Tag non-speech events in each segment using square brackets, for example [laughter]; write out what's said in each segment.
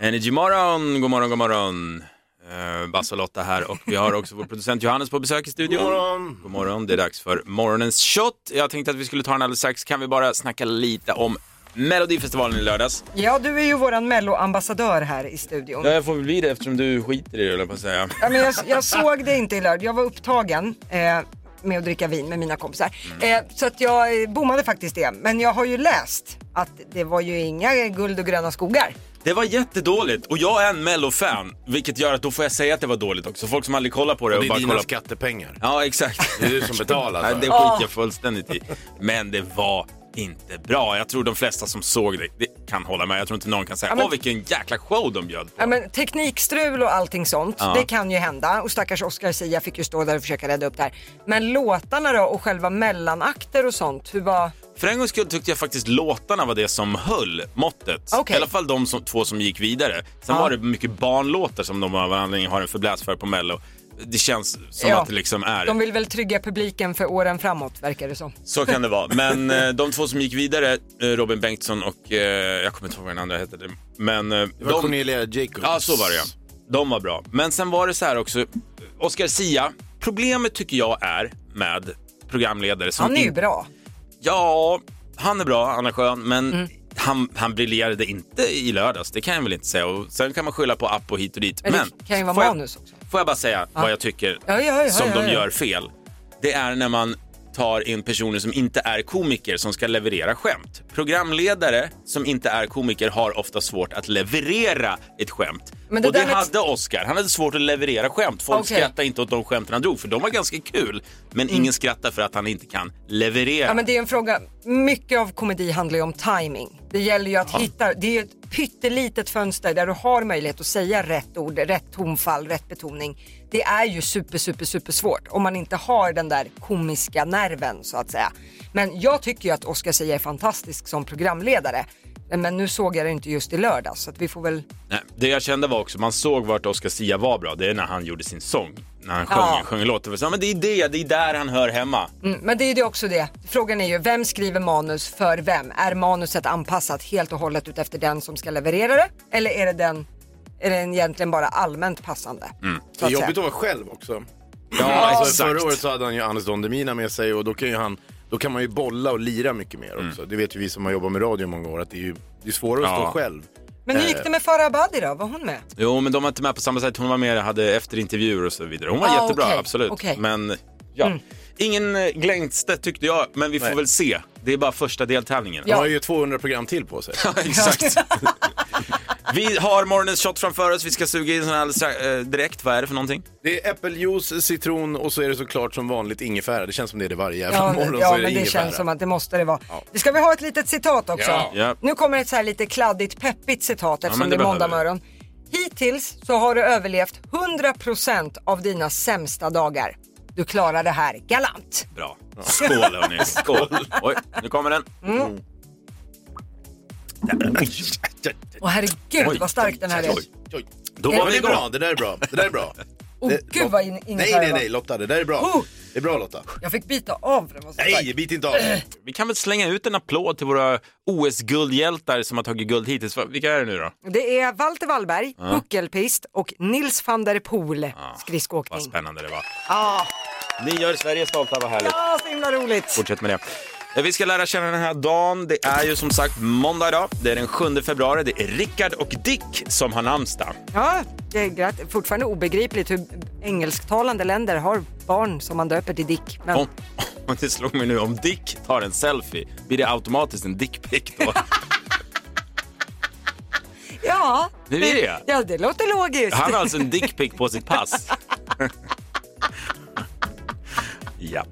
Energy morgon, god morgon, god morgon. Eh, Basse och Lotta här och vi har också vår producent Johannes på besök i studion. God morgon. God morgon, det är dags för morgonens shot. Jag tänkte att vi skulle ta den alldeles strax. Kan vi bara snacka lite om Melodifestivalen i lördags? Ja, du är ju våran melloambassadör här i studion. Ja, jag får väl bli det eftersom du skiter i det, höll jag på att säga. Ja, men jag, jag såg det inte i lördag. Jag var upptagen eh, med att dricka vin med mina kompisar. Eh, så att jag eh, bommade faktiskt det. Men jag har ju läst att det var ju inga guld och gröna skogar. Det var jättedåligt och jag är en Mello-fan, vilket gör att då får jag säga att det var dåligt också. Folk som aldrig kollar på det Och och, det är bara dina kollar. på- skattepengar. Ja, exakt. Det är du som betalar. [laughs] Nej, för det det. skiter jag fullständigt i. Men det var inte bra. Jag tror de flesta som såg det, det kan hålla med. Jag tror inte någon kan säga men- åh vilken jäkla show de bjöd på. Ja, men teknikstrul och allting sånt, det kan ju hända. Och stackars Oscar Sia fick ju stå där och försöka rädda upp det här. Men låtarna då och själva mellanakter och sånt, hur var... För en gångs skull tyckte jag faktiskt låtarna var det som höll måttet. Okej. I alla fall de som, två som gick vidare. Sen Ja. var det mycket barnlåtar som de av anledning har en förbläs för på Mello. Det känns som Ja. att det liksom är... De vill väl trygga publiken för åren framåt verkar det som. Så kan det vara. [laughs] Men eh, de två som gick vidare, eh, Robin Bengtsson och eh, jag kommer inte ihåg vad den andra hette. Men eh, Det var de, Cornelia Jacobs. Ja, så var det ja. De var bra. Men sen var det så här också, Oscar Sia, problemet tycker jag är med programledare som... Han är ju in- bra. Ja, han är bra, han är skön, men Mm. han, han briljerade inte i lördags, det kan jag väl inte säga. Och sen kan man skylla på app och hit och dit. Men det kan ju vara får jag, manus också. Får jag bara säga vad jag tycker Ja, ja, ja, som ja, de ja. gör fel? Det är när man tar in personer som inte är komiker som ska leverera skämt. Programledare som inte är komiker har ofta svårt att leverera ett skämt. Men det och det där med- hade Oscar. Han hade svårt att leverera skämt. Folk Okej. Mm. skrattade inte åt de skämten han drog, för de var ganska kul. Men ingen skrattar för att han inte kan leverera. Ja, men det är en fråga. Mycket av komedi handlar ju om timing. Det gäller ju att hitta, det är ju ett pyttelitet fönster där du har möjlighet att säga rätt ord, rätt tonfall, rätt betoning. Det är ju super, super, super svårt om man inte har den där komiska nerven så att säga. Men jag tycker ju att Oscar Sia är fantastisk som programledare. Men nu såg jag det inte just i lördags så att vi får väl Nej, det jag kände var också, man såg vart Oscar Sia var bra, det är när han gjorde sin sång. När han sjöng, Ja. sjöng en låt. Det var så, här, men det är det, det är där han hör hemma. Mm, Men det är ju det också det. Frågan är ju vem skriver manus för vem? Är manuset anpassat helt och hållet ut efter den som ska leverera det? Eller är det den är den egentligen bara allmänt passande? Så Mm. Det är att jobbigt säga. att vara själv också. Ja, Alltså, förra året så hade han ju Anders Don Demina med sig och då kan, ju han, då kan man ju bolla och lira mycket mer Mm. också. Det vet ju vi som har jobbat med radio i många år att det är ju det är svårare att Ja. stå själv. Men hur gick det med Farah Abadi då? Var hon med? Jo, men de var inte med på samma sätt. Hon var med, hade efterintervjuer och så vidare. Hon var Ah, jättebra, okej, absolut. okej. Men ja, ingen eh, Glängstedt tyckte jag, men vi får Nej. väl se. Det är bara första deltävlingen. Han Ja. har ju 200 program till på sig. [laughs] [laughs] Exakt. vi har morgonens shot framför oss. Vi ska suga in sån här alldeles strax, eh, direkt. Vad är det för någonting? Det är äppeljuice, citron och så är det såklart som vanligt ingefära. Det känns som det är det varje jävla morgon ja så är det men det ingefära. känns som att det måste det vara. Ska vi ha ett litet citat också? Ja. Ja. Nu kommer ett så här lite kladdigt, peppigt citat eftersom men det det är måndag behöver vi. morgon. Hittills så har du överlevt 100% av dina sämsta dagar. Du klarar det här galant. Bra. Skål hörni. Skål. Oj, nu kommer den. Åh herregud Oj, vad stark den här oj, är. oj. Oj. Då Ja, var men vi det är igång. bra, det där är bra. Det där är bra. Åh, Det- gud, Lot- vad in- ingefära Nej, nej, var. nej Lotta, det där är bra. Oh! Det är bra Lotta. Jag fick bita av för den var så stark. Nej, bit inte av dig. Vi kan väl slänga ut en applåd till våra OS-guldhjältar som har tagit guld hittills. Va- Vilka är det nu då? Det är Walter Wallberg, puckelpist och Nils van der Poel, Ah, Vad skridskoåkning. spännande det var. Ja, Ni gör Sverige stolta, vad härligt. ah, så himla roligt. Fortsätt med det. Eh, Vi ska lära känna den här dagen. Det är ju som sagt måndag idag. Det är den 7 februari. Det är Rickard och Dick som har namnsdag. Ja, det är gratt- fortfarande obegripligt hur engelsktalande länder har barn som man döper till Dick. Men Om, om det slog mig nu, om Dick tar en selfie, blir det automatiskt en dickpic då? ja, Nu är det. ja, det låter logiskt. Han har alltså en dickpic på sitt pass. Japp.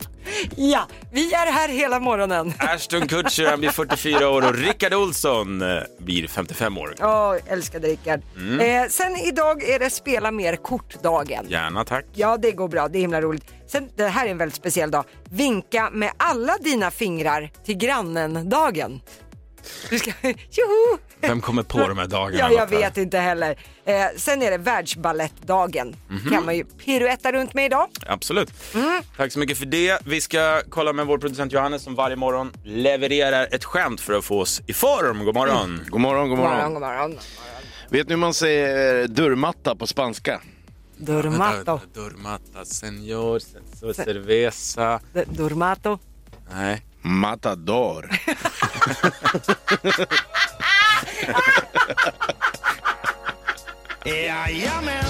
Ja, vi är här hela morgonen. Ashton Kutcher han blir 44 år och Rickard Olsson eh, blir 55 år. Ja, älskade Rickard. Mm. Eh, sen idag är det spela mer kortdagen. Gärna tack. Ja, det går bra. Det är himla roligt. Sen, det här är en väldigt speciell dag. Vinka med alla dina fingrar till grannen-dagen. Du ska... [laughs] Tjoho! Vem kommer på de här [laughs] dagarna? Ja, jag Lotta? vet inte heller. Eh, sen är det världsbalettdagen. kan man ju piruetta runt med idag. Absolut. Tack så mycket för det. Vi ska kolla med vår producent Johannes som varje morgon levererar ett skämt för att få oss i form. God morgon. [clears throat] Mm. God morgon, god God morgon. morgon, god morgon. Vi Vet ni hur man säger durmatta på spanska? Durmato. Vänta, Durmata, senor, sen- cerveza. D- Durmato. Nej. [laughs] Matador. Jajamän!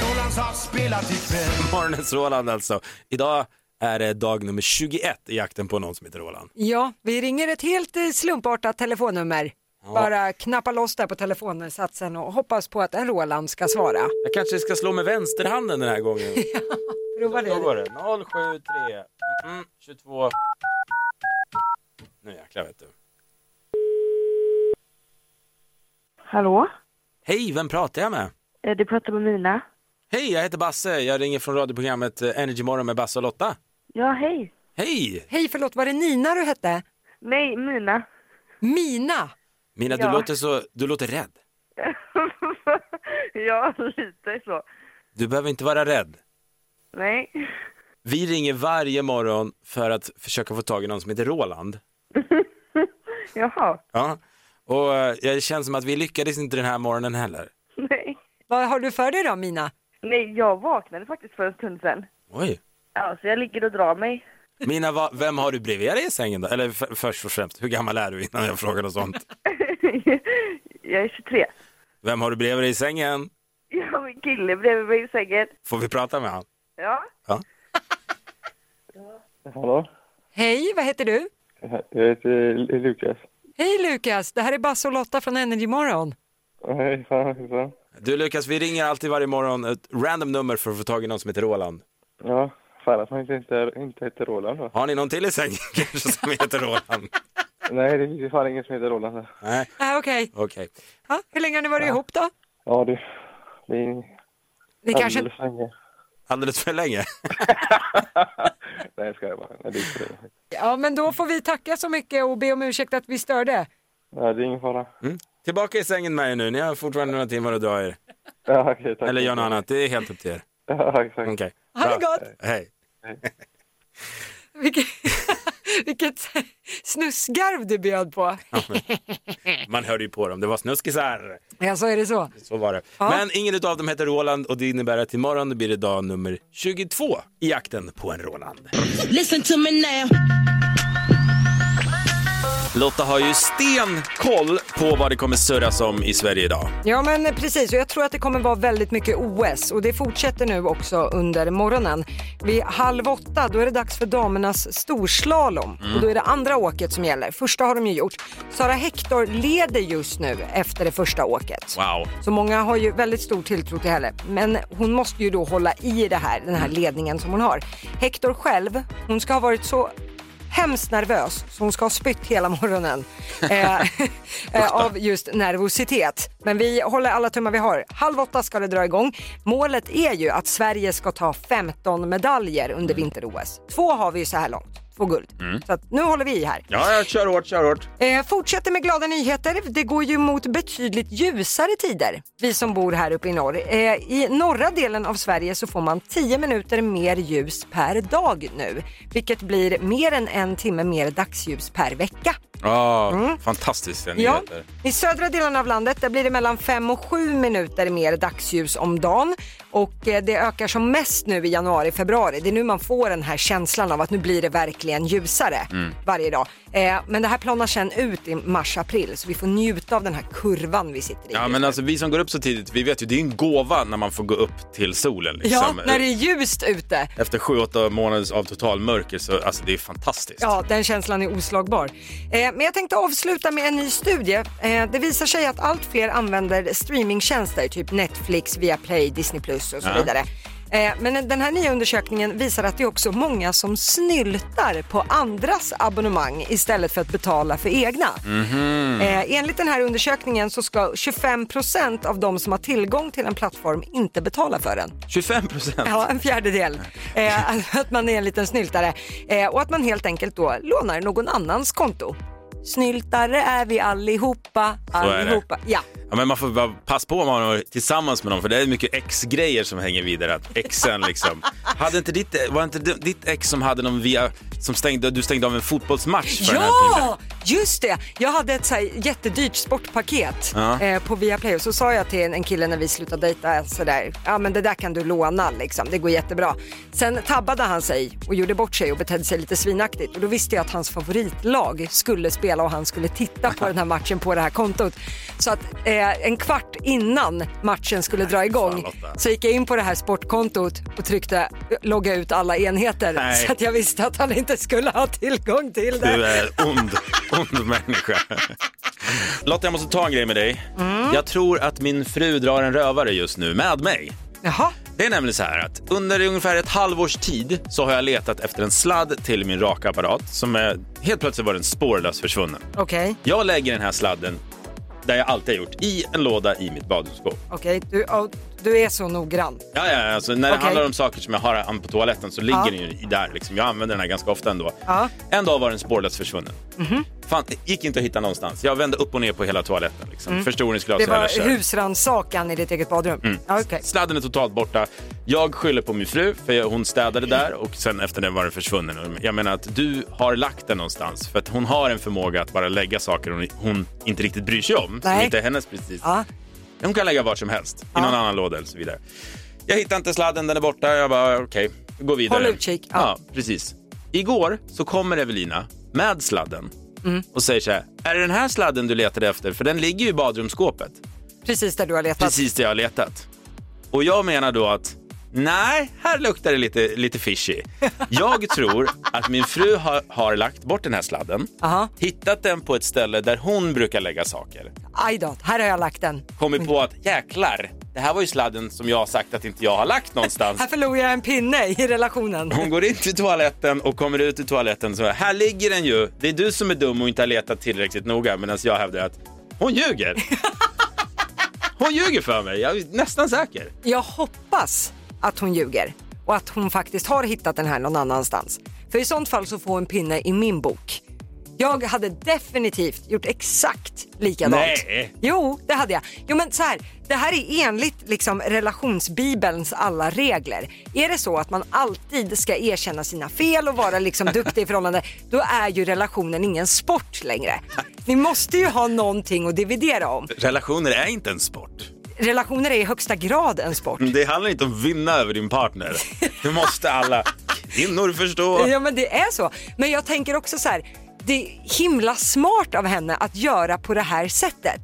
Rolands havs spelar till kväll. [laughs] Morgonens Roland alltså. Idag är det dag nummer 21 i jakten på någon som heter Roland. Ja, vi ringer ett helt eh, slumpartat telefonnummer. Bara knappa loss där på telefonsatsen och hoppas på att en Roland ska svara. Jag kanske ska slå med vänsterhanden den här gången. Prova Då det. går det. 073 mm, 22. Nu jäklar vet du. Hallå? Hej, vem pratar jag med? Eh, Du pratar med Mina. Hej, jag heter Basse. Jag ringer från radioprogrammet eh, Energy Morgon med Basse och Lotta. Ja, hej. Hej! Hej, förlåt, var det Nina du hette? Nej, Mina. [laughs] Mina. Mina, du, Ja. låter så, du låter rädd. ja, lite så. Du behöver inte vara rädd. Nej. Vi ringer varje morgon för att försöka få tag i någon som heter Roland. Jaha. Ja. Och eh, jag känns som att vi lyckades inte den här morgonen heller. Nej. Vad har du för dig då, Mina? Nej, jag vaknade faktiskt för en stund sedan. Oj. Ja, så jag ligger och drar mig. [laughs] Mina, va, vem har du bredvid dig i sängen då? Eller f- först och främst, hur gammal är du innan jag frågar något sånt? jag är 23. Vem har du bredvid dig i sängen? Jag har min kille bredvid mig i sängen. Får vi prata med honom? Ja. Hallå? Hej, vad heter du? Jag heter Lukas. Hej Lukas, det här är Basse och Lotta från Energymorgon. Hej, fan, hejsan. Du Lukas, vi ringer alltid varje morgon ett random nummer för att få tag i någon som heter Roland. Ja, fan att man inte, inte, inte heter Roland då. Har ni någon till i sängen [laughs] kanske som heter Roland? Nej, det finns ju fan ingen som heter Roland. här. Nej, Ah, Okej, okej. Ja, hur länge har ni varit ihop då? Ja, du. Det är Ni kanske... alldeles för länge. Alldeles för länge. [laughs] Nej, jag skojar bara. Nej, det är inte för länge. Ja, men då får vi tacka så mycket och be om ursäkt att vi störde. Nej, det är ingen fara. Tillbaka i sängen med er nu, ni har fortfarande några timmar att dra er. Ja, okej, tack. Eller gör något annat, det är helt upp till er. Ja, exakt. Okej. Ha det Bra. gott! Hej. Vilket, [laughs] vilket snusgarv du bjöd på. Man hörde ju på dem, det var snuskisar. Ja, så är det så. Så var det. Men ingen av dem heter Roland och det innebär att imorgon blir det dag nummer 22 i jakten på en Roland. Listen to me now. Lotta har ju stenkoll på vad det kommer surras om i Sverige idag. Ja, men precis. Och jag tror att det kommer vara väldigt mycket OS och det fortsätter nu också under morgonen. Vid halv åtta, då är det dags för damernas storslalom och då är det andra åket som gäller. Första har de ju gjort. Sara Hector leder just nu efter det första åket. Wow. Så många har ju väldigt stor tilltro till henne. Men hon måste ju då hålla i det här, den här ledningen som hon har. Hector själv, hon ska ha varit så hemskt nervös så hon ska ha spytt hela morgonen eh, eh, av just nervositet. Men vi håller alla tummar vi har. Halv åtta ska det dra igång. Målet är ju att Sverige ska ta 15 medaljer under vinter-OS. Två har vi ju så här långt, två guld. Så att nu håller vi i här. Ja, ja, kör hårt, kör hårt. Eh, fortsätter med glada nyheter. Det går ju mot betydligt ljusare tider, vi som bor här uppe i norr. Eh, I norra delen av Sverige så får man 10 minuter mer ljus per dag nu, vilket blir mer än en timme mer dagsljus per vecka. Ja, fantastiska Mm. Ja. nyheter. I södra delen av landet där blir det mellan 5 och 7 minuter mer dagsljus om dagen och eh, det ökar som mest nu i januari, februari. Det är nu man får den här känslan av att nu blir det verkligen ljusare Mm. varje dag. Eh, men det här planar sen ut i mars, april så vi får njuta av den här kurvan vi sitter i. Ja, men alltså vi som går upp så tidigt, vi vet ju, det är en gåva när man får gå upp till solen. Ja, Liksom. när det är ljust ute. Efter sju, åtta månader av total mörker så, alltså det är fantastiskt. Ja, den känslan är oslagbar. Eh, men jag tänkte avsluta med en ny studie. Eh, det visar sig att allt fler använder streamingtjänster, typ Netflix, Viaplay, Disney Plus och så vidare. Eh, Men den här nya undersökningen visar att det är också många som snyltar på andras abonnemang istället för att betala för egna. Eh, enligt den här undersökningen så ska 25% av de som har tillgång till en plattform inte betala för den. 25 procent. Ja, en fjärdedel. Eh, att- att man är en liten snyltare. Eh, och att man helt enkelt då lånar någon annans konto. Snyltare är vi allihopa, är det. allihopa. Ja, Ja, men man får bara passa på om man har tillsammans med någon, för det är mycket ex-grejer som hänger vidare. Att exen liksom. Hade inte ditt, var inte d- ditt ex som hade någon via, som stängde, du stängde av en fotbollsmatch för den här tiden? Ja, just det! Jag hade ett så här jättedyrt sportpaket Ja. eh, på Viaplay och så sa jag till en, en kille när vi slutade dejta sådär, ja men det där kan du låna liksom, det går jättebra. Sen tabbade han sig och gjorde bort sig och betedde sig lite svinaktigt och då visste jag att hans favoritlag skulle spela och han skulle titta [laughs] på den här matchen på det här kontot. Så att eh, en kvart innan matchen skulle dra igång Lotta. så gick jag in på det här sportkontot och tryckte logga ut alla enheter Nej. så att jag visste att han inte skulle ha tillgång till det. Du är ond, ond människa. Lotta, jag måste ta en grej med dig. Jag tror att min fru drar en rövare just nu med mig. Jaha. Det är nämligen så här att under ungefär ett halvårs tid så har jag letat efter en sladd till min rakapparat som är, helt plötsligt var den spårlöst försvunnen. Okej, Jag lägger den här sladden, där jag alltid har gjort, i en låda i mitt badrumsskåp. okej. Du, ja, du är så noggrann. Ja, ja, ja, alltså när det Okej. handlar om saker som jag har an- på toaletten så ligger Ja. den ju i där. Liksom. Jag använder den här ganska ofta ändå. Ja. Mhm. En dag var den spårlöst försvunnen. Fan, det gick inte att hitta någonstans. Jag vände upp och ner på hela toaletten. Liksom. Mm. Det Förstoringsglas och hela var köret. husrannsakan i ditt eget badrum? Ja, okej. Sladden är totalt borta. Jag skyller på min fru, för jag- hon städade Mm. där och sen efter det var den försvunnen. Och Jag menar att du har lagt den någonstans, för att hon har en förmåga att bara lägga saker hon, hon inte riktigt bryr sig om, som Nej. inte är hennes precis. Ja. Hon kan lägga vart som helst, i någon annan låda eller så vidare. Jag hittar inte sladden, den är borta. Jag bara, okej, vi går vidare. Håll utkik, Ja. ja. precis. Igår så kommer Evelina med sladden Mm. och säger så här, är det den här sladden du letade efter? För den ligger ju i badrumsskåpet. Precis där du har letat. Precis det jag har letat. Och jag menar då att nej, här luktar det lite, lite fishy. [laughs] Jag tror att min fru har, har lagt bort den här sladden, Aha. hittat den på ett ställe där hon brukar lägga saker, Aj då, här har jag lagt den. kommit på att jäklar, det här var ju sladden som jag har sagt att inte jag har lagt någonstans. Här förlorar jag en pinne i relationen. Hon går in till toaletten och kommer ut i toaletten och så här, här ligger den ju. Det är du som är dum och inte har letat tillräckligt noga medan jag hävdar att hon ljuger. [laughs] Hon ljuger för mig, jag är nästan säker. Jag hoppas att hon ljuger och att hon faktiskt har hittat den här någon annanstans. För i sånt fall så får hon en pinne i min bok. Jag hade definitivt gjort exakt likadant. Nej. Jo, det hade jag. Jo, men så här, det här är enligt liksom, relationsbibelns alla regler. Är det så att man alltid ska erkänna sina fel och vara liksom, duktig i förhållande, då är ju relationen ingen sport längre. Ni måste ju ha någonting att dividera om. Relationer är inte en sport. Relationer är i högsta grad en sport. Det handlar inte om att vinna över din partner. Det måste alla kvinnor förstå. Ja men det är så. Men jag tänker också så här, det är himla smart av henne att göra på det här sättet.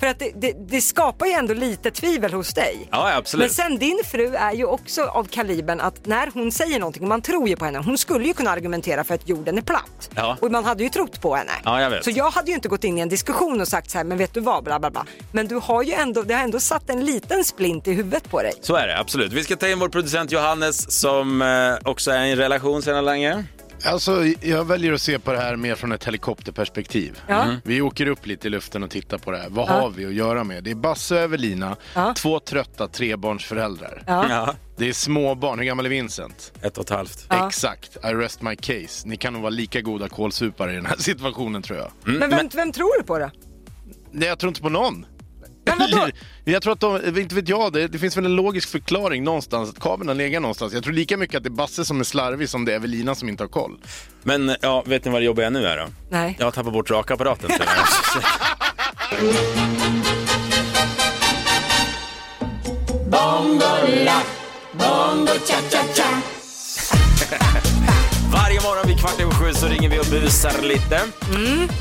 För att det, det, det skapar ju ändå lite tvivel hos dig. Ja, Men absolut. sen din fru är ju också av kalibern att när hon säger någonting, och man tror ju på henne, hon skulle ju kunna argumentera för att jorden är platt. Ja. Och man hade ju trott på henne. Ja, jag vet. Så jag hade ju inte gått in i en diskussion och sagt så här, men vet du vad, bla bla bla. Men du har ju ändå, det har ändå satt en liten splint i huvudet på dig. Så är det, absolut. Vi ska ta in vår producent Johannes som eh, också är i en relation sedan länge. Alltså, jag väljer att se på det här mer från ett helikopterperspektiv. Ja. Mm. Vi åker upp lite i luften och tittar på det här. Vad har vi att göra med? Det är Basse och Evelina, Ja. två trötta trebarnsföräldrar. Ja. Det är småbarn. Hur gammal är Vincent? Ett och ett halvt. Ja. Exakt. I rest my case. Ni kan nog vara lika goda kålsupare i den här [laughs] situationen, tror jag. Mm. Mm, men, vem, vem tror du på då? Nej, jag tror inte på någon. Men vadå? [laughs] Jag tror att de, inte vet jag, det, det finns väl en logisk förklaring någonstans, att kabeln har legat någonstans. Jag tror lika mycket att det är Basse som är slarvig som det är Evelina som inte har koll. Men eh, ja, vet ni vad det jobbiga nu är då? Nej. Jag har tappat bort rakapparaten. tror jag. [laughs] Varje morgon vid kvart över sju så ringer vi och busar lite.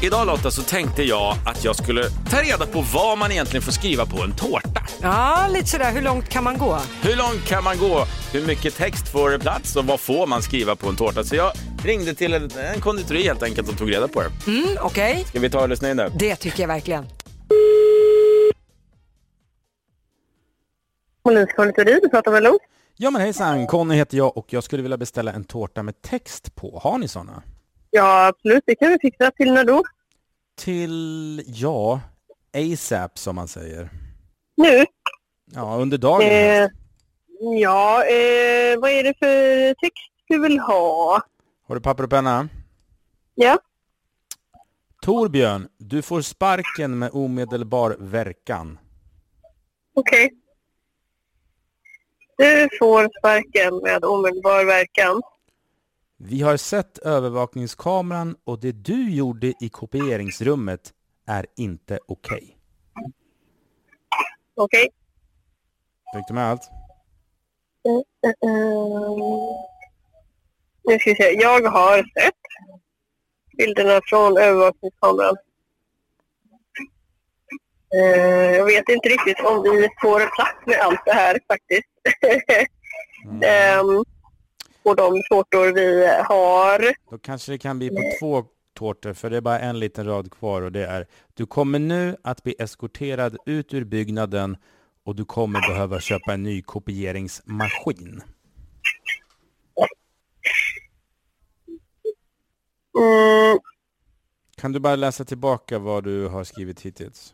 Idag Lotta så tänkte jag att jag skulle ta reda på vad man egentligen får skriva på en tårta. Ja, lite sådär. Hur långt kan man gå? Hur långt kan man gå? Hur mycket text får det plats och vad får man skriva på en tårta? Så jag ringde till en, en konditori helt enkelt och tog reda på det. Mm, Okej, Ska vi ta och lyssna in där? det tycker jag verkligen. Åhléns konditori, du pratar med Lo. Ja men hejsan, Conny heter jag och jag skulle vilja beställa en tårta med text på. Har ni sådana? Ja, absolut. Det kan vi fixa till när då? Till, ja, ASAP som man säger. Nu? Ja, under dagen. Eh, ja, eh, vad är det för text du vill ha? Har du papper och penna? Ja. Torbjörn, du får sparken med omedelbar verkan. Okej. Du får sparken med omedelbar verkan. Vi har sett övervakningskameran och det du gjorde i kopieringsrummet är inte okej. Okej. Fick du med allt? Ehm, Nu ska vi se. Jag har sett bilderna från övervakningskameran. Ehm, Jag vet inte riktigt om vi får plats med allt det här faktiskt. [laughs] Ehm, och de tårtor vi har. Då kanske det kan bli på två tårtor, för det är bara en liten rad kvar och det är Du kommer nu att bli eskorterad ut ur byggnaden och du kommer behöva köpa en ny kopieringsmaskin. Mm, Kan du bara läsa tillbaka vad du har skrivit hittills?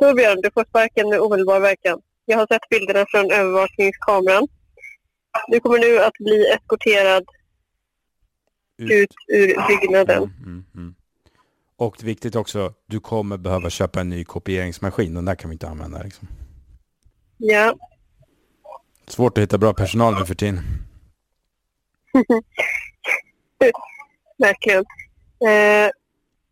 Torbjörn, du får sparken med omedelbar verkan. Jag har sett bilderna från övervakningskameran. Du kommer nu att bli eskorterad ut ur byggnaden. Mm, mm. Och viktigt också, du kommer behöva köpa en ny kopieringsmaskin. Den där kan vi inte använda. Liksom. Ja. Svårt att hitta bra personal nu för tiden. Verkligen. Eh,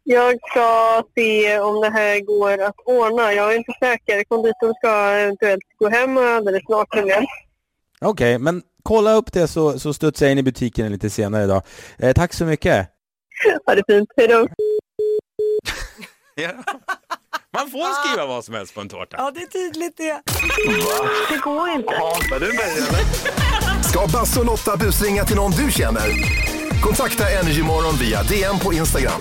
jag ska se om det här går att ordna. Jag är inte säker. Konditorn ska eventuellt gå hem alldeles snart. nämligen. Okej, Eh, men kolla upp det så, så studsar jag in i butiken lite senare idag. Eh, tack så mycket. Ha det fint. Hej då. [laughs] Ja. Man får skriva vad som helst på en tårta. det är tydligt det. Det går inte. Ska Basse och Lotta busringa till någon du känner? Kontakta Energymorgon via DM på Instagram.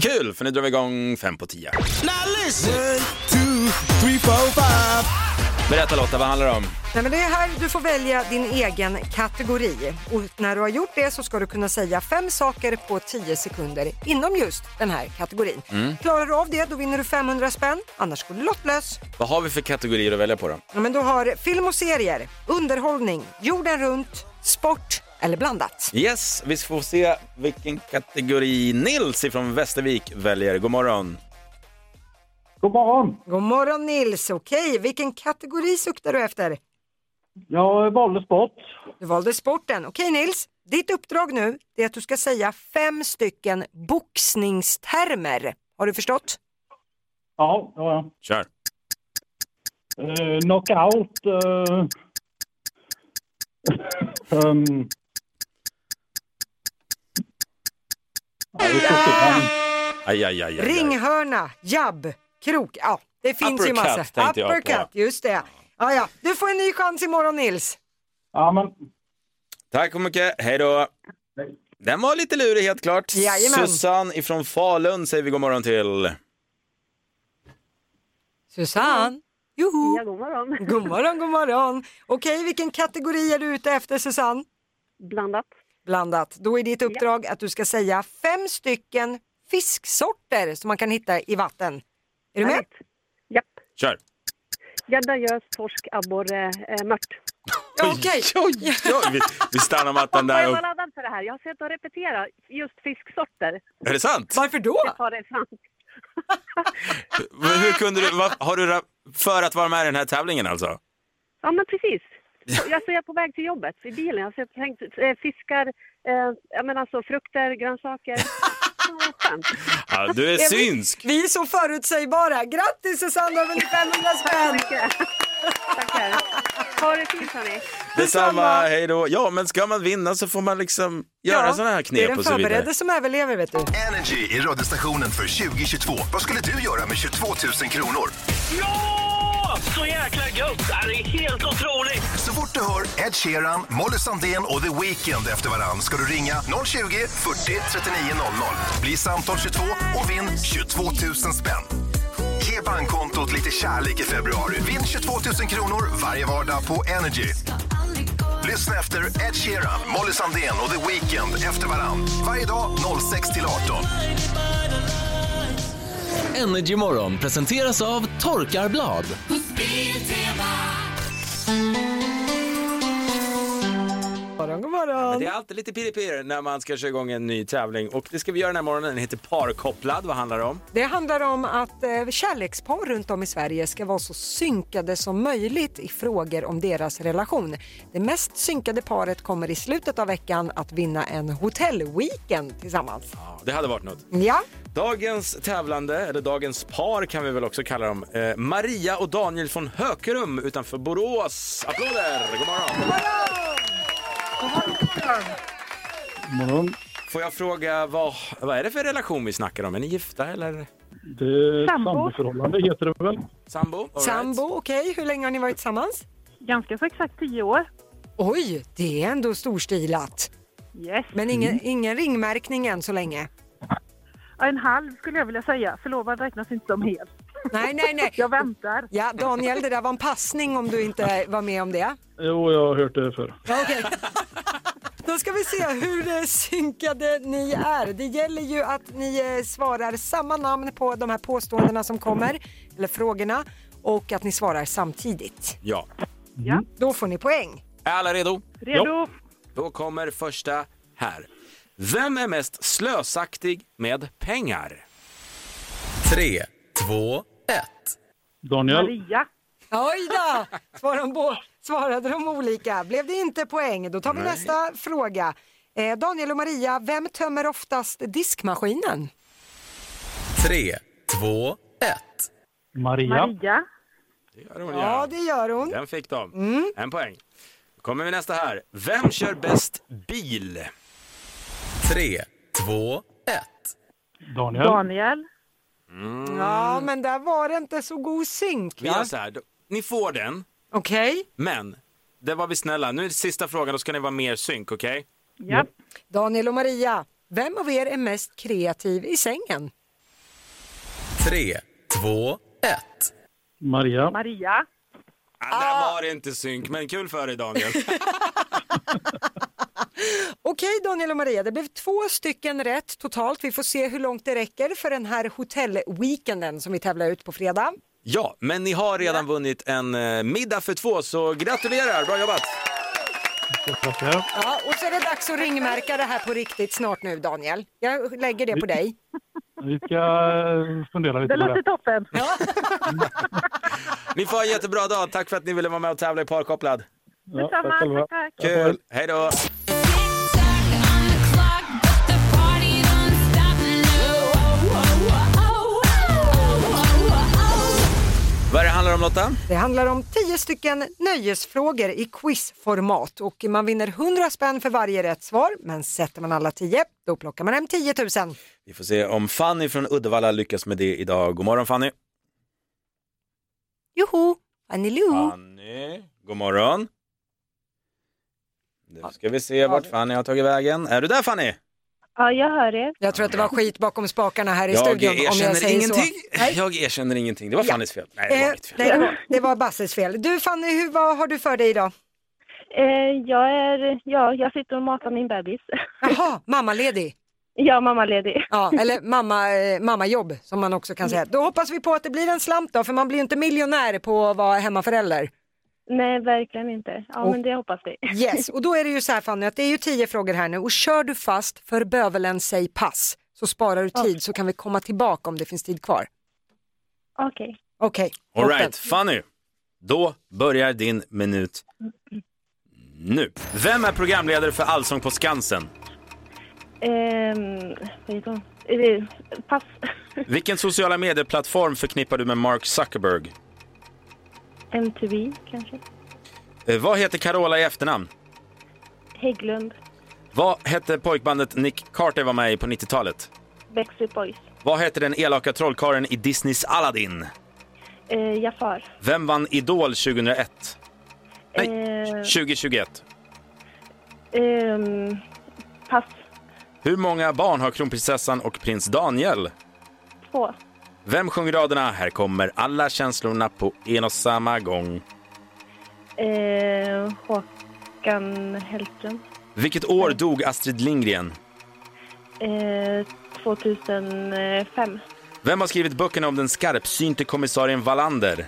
Kul, för nu drar vi igång fem på tio. Berätta Lotta, vad handlar det om? Nej, men det är här du får välja din egen kategori och när du har gjort det så ska du kunna säga fem saker på 10 sekunder inom just den här kategorin. Klarar du av det då vinner du 500 spänn, annars går du lottlös. Vad har vi för kategorier att välja på då? Ja, men du har film och serier, underhållning, jorden runt, sport eller blandat. Yes, vi får se vilken kategori Nils ifrån Västervik väljer. God morgon. God morgon! God morgon Nils, okej vilken kategori suktar du efter? Jag valde sport. Du valde sporten. Okej Nils, ditt uppdrag nu det är att du ska säga fem stycken boxningstermer. Har du förstått? Ja, ja. Kör. Uh, knockout. eh, [laughs] ehm. Ja, vi får se. Aj, aj, aj, aj, aj. Ringhörna, jabb, krok. Ja, det finns ju Uppercut massa. tänkte jag på. just det. Ja, ja. Du får en ny chans imorgon Nils. Ja, men Tack så mycket, hej då. Den var lite lurig helt klart. Jajamän. Susanne ifrån Falun säger vi god morgon till. Susanne. Joho. Ja, god [laughs] morgon. God morgon, god morgon. Okej, vilken kategori är du ute efter Susanne? Blandat. Blandat. Då är ditt uppdrag att du ska säga fem stycken fisksorter som man kan hitta i vatten. Är du med? Japp. Kör. Gädda, gös, torsk, abborre, eh, mört. Ja, Okej. Ja, vi, vi stannar mattan där. Och, laddad för det här. Jag har sett att repetera just fisksorter. är det sant? Varför då? Ta det fram. Men Hur kunde du, vad, har du ra- för att vara med i den här tävlingen alltså? Ja, men precis. Jag ser på väg till jobbet i bilen. Jag ser tänkt, eh, fiskar, eh, jag menar så, frukter, grönsaker. Ja, vad skönt. Ja, du är synsk. Vi [laughs] är så förutsägbara. Grattis Susanne, du har vunnit 500 spänn. Tackar. Ha det fint, hörni. Eh, Detsamma, hej då. Ja, men ska man vinna så får man liksom göra Ja, sådana här Det är knep den och så vidare. förberedde som överlever vet du. Energy är radiostationen för 2022. Vad skulle du göra med 22 000 kronor? Ja! Så jäkla gött! Det här är helt otroligt! Så fort du hör Ed Sheeran, Molly Sandén och The Weeknd efter varann ska du ringa 020 40 39 00. Bli samtal 22 och vinn 22 000 spänn. Ge bankkontot lite kärlek i februari. Vinn 22 000 kronor varje vardag på Energy. Lyssna efter Ed Sheeran, Molly Sandén och The Weeknd efter varann. Varje dag 06 till 18. Energy Morgon presenteras av Torkarblad. morgon, god morgon. Det är alltid lite pirr när man ska köra igång en ny tävling och det ska vi göra den här morgonen. Den heter Parkopplad. Vad handlar det om? Det handlar om att eh, kärlekspar runt om i Sverige ska vara så synkade som möjligt i frågor om deras relation. Det mest synkade paret kommer i slutet av veckan att vinna en hotellweekend tillsammans. Ja, det hade varit något. Ja, Dagens tävlande, eller dagens par kan vi väl också kalla dem, eh, Maria och Daniel från Hökerum utanför Borås. Applåder! God morgon! morgon. Får jag fråga, vad, vad är det för relation vi snackar om? Är ni gifta eller? Det Sambo. samboförhållande heter det väl? Sambo? all right. sambo, okej. Hur länge har ni varit tillsammans? Ganska så exakt tio år. Oj, det är ändå storstilat. Yes. Men ingen, Mm. ingen ringmärkning än så länge? Ja, En halv skulle jag vilja säga. Förlovad räknas inte som hel. Nej, nej, nej. Jag väntar. [laughs] Ja, Daniel, det där var en passning om du inte var med om det. Jo, jag har hört det förr. Ja, Okej. Då ska vi se hur eh, synkade ni är. Det gäller ju att ni eh, svarar samma namn på de här påståendena som kommer, eller frågorna, och att ni svarar samtidigt. Ja. Ja. Då får ni poäng. Är alla redo? Redo. Ja. Då kommer första här. Vem är mest slösaktig med pengar? Tre, två, ett. Daniel, Maria. Oj då! Svarade de, bo- svarade de olika. Blev det inte poäng? Då tar vi Nej. nästa fråga. Eh, Daniel och Maria, vem tömmer oftast diskmaskinen? Tre, två, ett. Maria. Ja, det gör hon. Den fick de. En poäng. Då kommer vi nästa här. Vem kör bäst bil? Tre, två, ett. Daniel. Daniel. Mm. Ja, men där var det inte så god synk. Vi gör så här. Då- Ni får den, Okej. men det var vi snälla. Nu är det sista frågan, då ska ni vara mer synk, okej? Daniel och Maria, vem av er är mest kreativ i sängen? Tre, två, ett. Maria. Maria. Ah, där var det inte synk, men kul för dig Daniel. Okej Daniel och Maria, det blev två stycken rätt totalt. Vi får se hur långt det räcker för den här hotellweekenden som vi tävlar ut på fredag. ja, men ni har redan vunnit en eh, middag för två, så gratulerar, bra jobbat! Ja, och så är det dags att ringmärka det här på riktigt snart nu Daniel. Jag lägger det på dig. Vi ska eh, fundera lite på det. toppen. Ni får ha en jättebra dag, tack för att ni ville vara med och tävla i Parkopplad. Ja, tack Detsamma, själva. tack, tack. Kul, hej då! Vad är det handlar om Lotta? Det handlar om tio stycken nöjesfrågor i quizformat och man vinner 100 spänn för varje rätt svar. Men sätter man alla tio, då plockar man hem 10 000. Vi får se om Fanny från Uddevalla lyckas med det idag. God morgon Fanny! Joho! Aniloo! Fanny, god morgon! Nu ska vi se vart Fanny har tagit vägen. Är du där Fanny? Ja, jag hör er. Jag tror att det var skit bakom spakarna här i Jag studion. om jag erkänner säger ingenting. Så. Nej. Jag erkänner ingenting. Det var Ja. Fannys fel. Nej, det var Eh, mitt fel. det, var, det var Basses fel. Du Fanny, hur, vad har du för dig idag? Eh, jag, är, ja, jag sitter och matar min bebis. [laughs] Jaha, mammaledig? Ja, mammaledig. Ja, eller mamma, eh, mammajobb som man också kan säga. Då hoppas vi på att det blir en slant då, för man blir ju inte miljonär på att vara hemmaförälder. Nej, verkligen inte. Ja, Och- men det hoppas vi. [laughs] Yes, och då är det ju så här Fanny att det är ju tio frågor här nu och kör du fast för bövelen säg pass så sparar du tid så kan vi komma tillbaka om det finns tid kvar. Okej. Okej, All toppen. right, Fanny. Då börjar din minut nu. Vem är programledare för Allsång på Skansen? Ehm, vad heter hon? Eh, Pass. [laughs] Vilken sociala medieplattform förknippar du med Mark Zuckerberg? MTV, kanske. Eh, Vad heter Carola i efternamn? Hägglund. Vad hette pojkbandet Nick Carter var med i på 90-talet? Backstreet Boys. Vad heter den elaka trollkarlen i Disneys Aladdin? Eh, Jafar. Vem vann Idol 2001? Nej, Eh, 2021. ehm, pass. Hur många barn har kronprinsessan och prins Daniel? Två. Vem sjunger raderna? Här kommer alla känslorna på en och samma gång. Eh, Håkan Hellström. Vilket år dog Astrid Lindgren? Eh, 2005. Vem har skrivit böckerna om den skarpsynte kommissarien Wallander?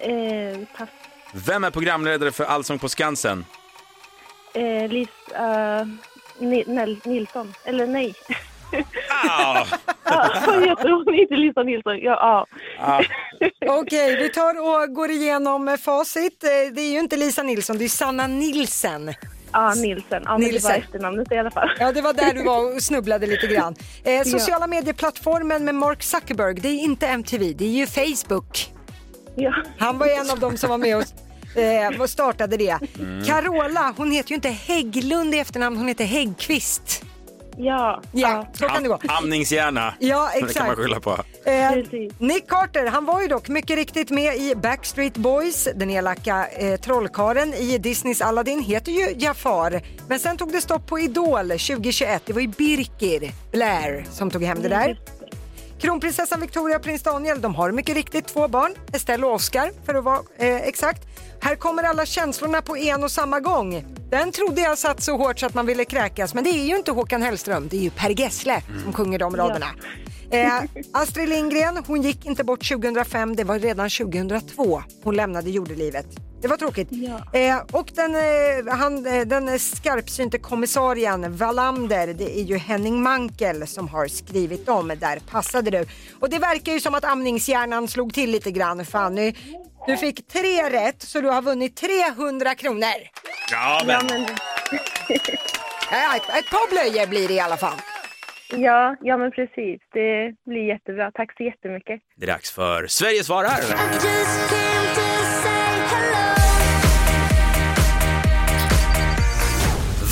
Eh, pass. Vem är programledare för Allsång på Skansen? Eh, Liv... eh, Ni- Nel- Nilsson. [laughs] Eller nej. [laughs] Ah, Ja, Vad heter hon? Inte Lisa Nilsson. Ja, ja. ah. Okej, vi tar och går igenom eh, facit. Eh, Det är ju inte Lisa Nilsson, det är Sanna Nilsen. Ja, Nilsen. Ja, men det var efternamnet i alla fall. Ja, det var där du var och snubblade lite grann. Eh, sociala medieplattformen med Mark Zuckerberg, det är inte MTV, det är ju Facebook. Han var ju en av dem som var med och eh, och startade det. Mm. Carola, hon heter ju inte Hägglund i efternamn, hon heter Häggqvist. [laughs] Ja. Ja, så kan det gå. Am- Amningshjärna. Ja, Det kan man exakt. skylla på. Eh, Nick Carter, han var ju dock mycket riktigt med i Backstreet Boys. Den elaka eh, trollkaren i Disneys Aladdin heter ju Jafar. Men sen tog det stopp på Idol 2021. Det var ju Birkir Blair som tog hem det där. Kronprinsessan Victoria och prins Daniel, de har mycket riktigt två barn, Estelle och Oscar för att vara eh, exakt. Här kommer alla känslorna på en och samma gång. Den trodde jag satt så hårt så att man ville kräkas, men det är ju inte Håkan Hellström, det är ju Per Gessle som sjunger de raderna. Eh, Astrid Lindgren, hon gick inte bort 2005, det var redan 2002 hon lämnade jordelivet. Det var tråkigt. Eh, och den, eh, han, eh, den skarpsynte kommissarien Wallander, det är ju Henning Mankel som har skrivit om Där passade du. Och det verkar ju som att amningshjärnan slog till lite grann Fanny. Du fick tre rätt så du har vunnit 300 kronor. Ja, men. Ja, Eh, ett- ett par blöjor blir det i alla fall. Ja, ja, men precis. Det blir jättebra. Tack så jättemycket. Det är dags för Sverige svarar.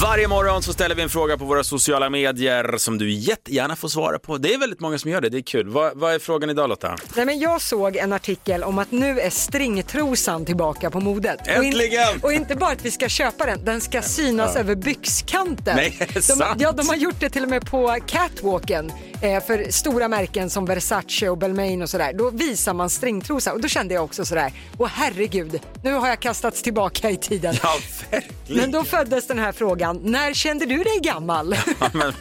Varje morgon så ställer vi en fråga på våra sociala medier som du jättegärna får svara på. Det är väldigt många som gör det, det är kul. Vad, vad är frågan idag Lotta? Nej, men jag såg en artikel om att nu är stringtrosan tillbaka på modet. Och, Äntligen! in, och inte bara att vi ska köpa den, den ska synas Ja. över byxkanten. Nej, är det de, sant? ja, de har gjort det till och med på catwalken eh, för stora märken som Versace och Belmain och sådär. Då visar man stringtrosa och då kände jag också sådär, åh herregud, nu har jag kastats tillbaka i tiden. Ja, men då föddes den här frågan, när kände du dig gammal? Ja, men,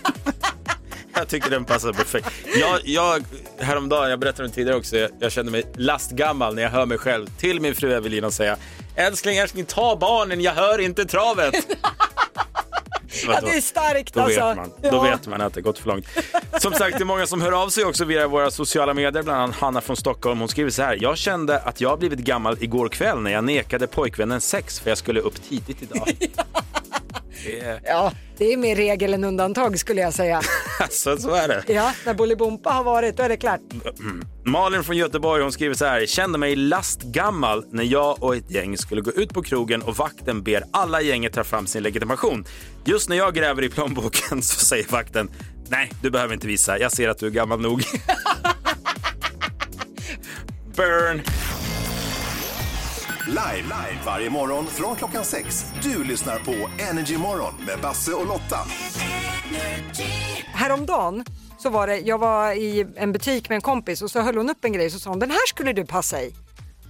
jag tycker den passar perfekt. Jag, jag, häromdagen, jag berättade om det tidigare också, jag, jag kände mig lastgammal när jag hör mig själv till min fru Evelina säga Älskling, älskling, ta barnen, jag hör inte travet. [laughs] ja, [laughs] det är starkt Då alltså. vet man, Ja. då vet man att det gått för långt. Som sagt, det är många som hör av sig också via våra sociala medier, bland annat Hanna från Stockholm. Hon skriver så här. Jag kände att jag blivit gammal igår kväll när jag nekade pojkvännen sex för jag skulle upp tidigt idag. [laughs] Det är, Ja, det är mer regel än undantag skulle jag säga. alltså, så är det. Ja, när Bolibompa har varit, då är det klart. Mm. Malin från Göteborg hon skriver så här. Kände mig lastgammal när jag och ett gäng skulle gå ut på krogen och vakten ber alla i gänget ta fram sin legitimation. Just när jag gräver i plånboken så säger vakten Nej, du behöver inte visa. Jag ser att du är gammal nog. [laughs] Burn! Live, live varje morgon från klockan sex. Du lyssnar på Energy Morgon med Basse och Lotta. Häromdagen så var det, jag var i en butik med en kompis och så höll hon upp en grej och så sa hon den här skulle du passa i.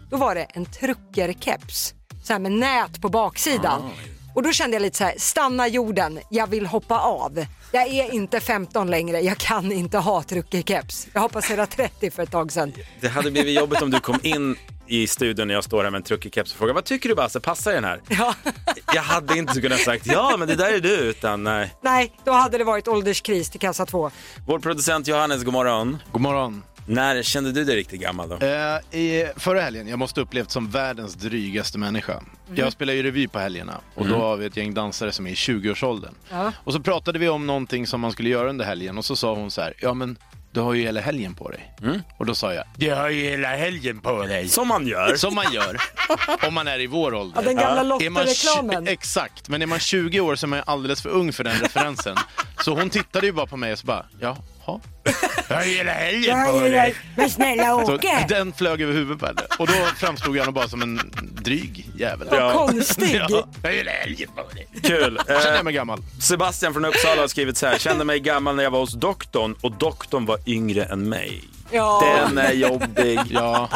Då var det en truckerkeps, så här med nät på baksidan. Ah. Och då kände jag lite så här, stanna jorden, jag vill hoppa av. Jag är inte 15 längre, jag kan inte ha truckerkeps. Jag har passerat 30 för ett tag sedan. Det hade blivit jobbigt om du kom in i studion när jag står här med en truckig keps och frågar vad tycker du Basse, passar den här? Ja. [laughs] Jag hade inte kunnat sagt ja, men det där är du, utan nej. Nej, då hade det varit ålderskris till kassa 2. Vår producent Johannes, god morgon. God morgon. När kände du dig riktigt gammal då? Eh, i, förra helgen, jag måste upplevt som världens drygaste människa. Mm. Jag spelar ju revy på helgerna och då har vi ett gäng dansare som är i 20-årsåldern. Och så pratade vi om någonting som man skulle göra under helgen och så sa hon så här, ja men du har ju hela helgen på dig. Mm. Och då sa jag, du har ju hela helgen på dig. Som man gör. Som man gör, om man är i vår ålder. Ja, den gamla Är man tj- Lotte-reklamen. Exakt, men är man 20 år så är man ju alldeles för ung för den referensen. Så hon tittade ju bara på mig och så bara, jaha. Jag har ju hela helgen på dig. Men snälla Så den flög över huvudet på henne och då framstod han bara som en dryg jävel. Vad [laughs] konstig. Ja. Jag gillar älgen på dig. [laughs] Kul. Känner jag Eh, mig gammal. Sebastian från Uppsala har skrivit så här. Kände mig gammal när jag var hos doktorn och doktorn var yngre än mig. Ja. Den är jobbig. ja.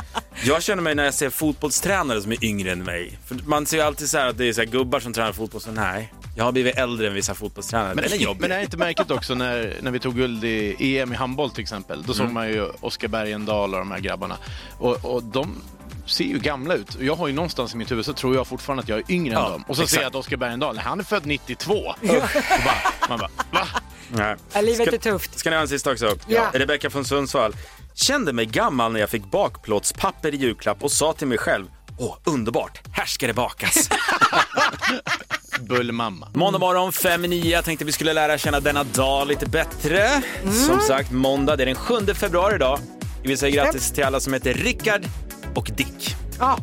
Jag känner mig när jag ser fotbollstränare som är yngre än mig. För man ser ju alltid så här att det är så här gubbar som tränar fotboll. Så nej, jag har blivit äldre än vissa fotbollstränare. Men, Den är jobbig. men det är inte märkligt också när, när vi tog guld i EM i handboll till exempel. Då såg Mm. man ju Oskar Bergendahl och de här grabbarna. Och, och de ser ju gamla ut. Och Jag har ju någonstans i mitt huvud så tror jag fortfarande att jag är yngre Ja, än dem. Och så exakt. ser jag att Oskar Bergendahl, han är född 92. Och bara, man bara, va? Nej. Ja, livet ska, är tufft. Ska ni ha en sista också? Ja. Rebecka från Sundsvall. Kände mig gammal när jag fick bakplåtspapper i julklapp och sa till mig själv Åh, underbart! Här ska det [laughs] bakas! Bullmamma. Måndag morgon 5 i 9. Jag tänkte vi skulle lära känna denna dag lite bättre. Mm. Som sagt, måndag. Det är den 7 februari idag. Vi säger grattis till alla som heter Rickard och Dick. Ja.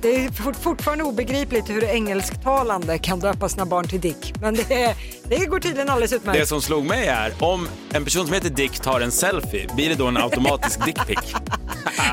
Det är fort, fortfarande obegripligt hur engelsktalande kan döpa sina barn till Dick. Men det, är, det går tydligen alldeles utmärkt. Det som slog mig är om en person som heter Dick tar en selfie, blir det då en automatisk [laughs] dickpic?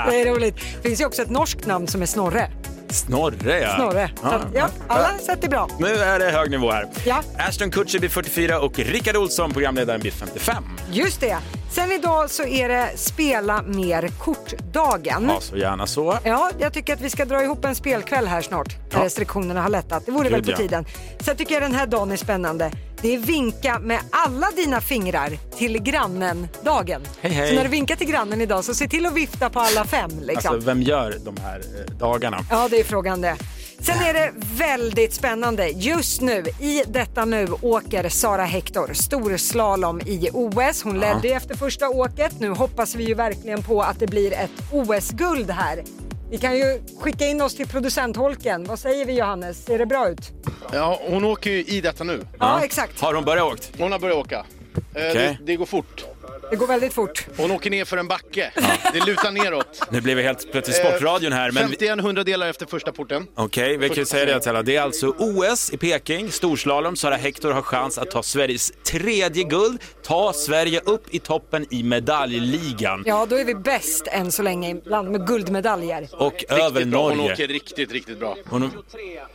Det är roligt. Det finns ju också ett norskt namn som är Snorre. Snorre, ja. Snorre. Så Ja. att, ja, alla sätt är bra. Nu är det hög nivå här. Ja. Ashton Kutcher blir 44 och Rickard Olsson, programledaren, blir 55. Just det. Sen idag så är det spela mer kortdagen. Ja, så gärna så. Ja, jag tycker att vi ska dra ihop en spelkväll här snart när Ja. restriktionerna har lättat. Det vore Gud, väl på ja. tiden. Sen tycker jag den här dagen är spännande. Det är vinka med alla dina fingrar till grannen-dagen. Hej, hej. Så när du vinkar till grannen idag så se till att vifta på alla fem. Liksom. Alltså, vem gör de här eh, dagarna? Ja, det är frågan det. Sen är det väldigt spännande. Just nu, i detta nu, åker Sara Hector storslalom i OS. Hon ledde ju efter första åket. Nu hoppas vi ju verkligen på att det blir ett OS-guld här. Vi kan ju skicka in oss till producentholken. Vad säger vi Johannes? Ser det bra ut? Ja, hon åker ju i detta nu. Ja, exakt. Har hon börjat åkt? Hon har börjat åka. Eh, Det, det går fort. Det går väldigt fort. Hon åker ner för en backe. Det lutar neråt. Nu blev vi helt plötsligt Eh, sportradion här. Men vi... 51 hundradelar efter första porten. Okej, vi kan ju säga det till alla. Det är alltså OS i Peking, storslalom. Sara Hector har chans att ta Sveriges tredje guld, ta Sverige upp i toppen i medaljligan. Ja, då är vi bäst än så länge bland med guldmedaljer. Och över bra. Hon Norge. åker riktigt, riktigt bra. Hon...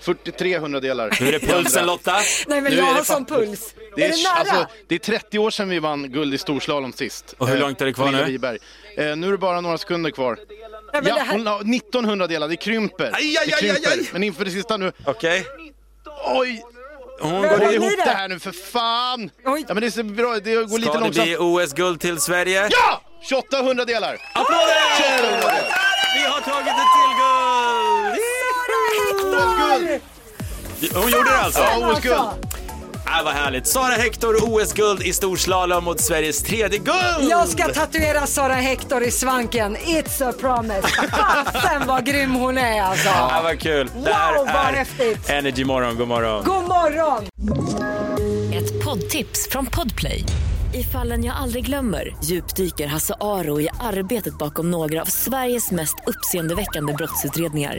43 hundradelar. Nu är det pulsen, Lotta. Nej, men Nu jag är det har sån fan- puls. Det är, är det nära? alltså, det är 30 år sedan vi vann guld i storslalom sist. Och hur Eh, långt är det kvar Frida nu? Wiberg. Eh, nu är det bara några sekunder kvar. men ja, det här- hon har 1900 delar, det krymper. Aj, aj, det aj, krymper. aj, aj. Men inför det sista nu. Okej. Oj! Hon Håll går ihop det här nu för fan! Ja, men det är så bra, det går lite Ska det långsamt. bli OS-guld till Sverige? Ja! 2800 delar! Applåder! Vi har tagit ett till guld! Hector! Hon gjorde det alltså? Ja, OS-guld. Ah, vad härligt. Sara Hector, OS-guld i storslalom mot Sveriges tredje guld! Jag ska tatuera Sara Hector i svanken. It's a promise. Fasen vad grym hon är alltså. Ah, vad kul. Wow, det här vad är häftigt. Energy morgon. God morgon. God morgon! Ett poddtips från Podplay. I fallen jag aldrig glömmer djupdyker Hasse Aro i arbetet bakom några av Sveriges mest uppseendeväckande brottsutredningar.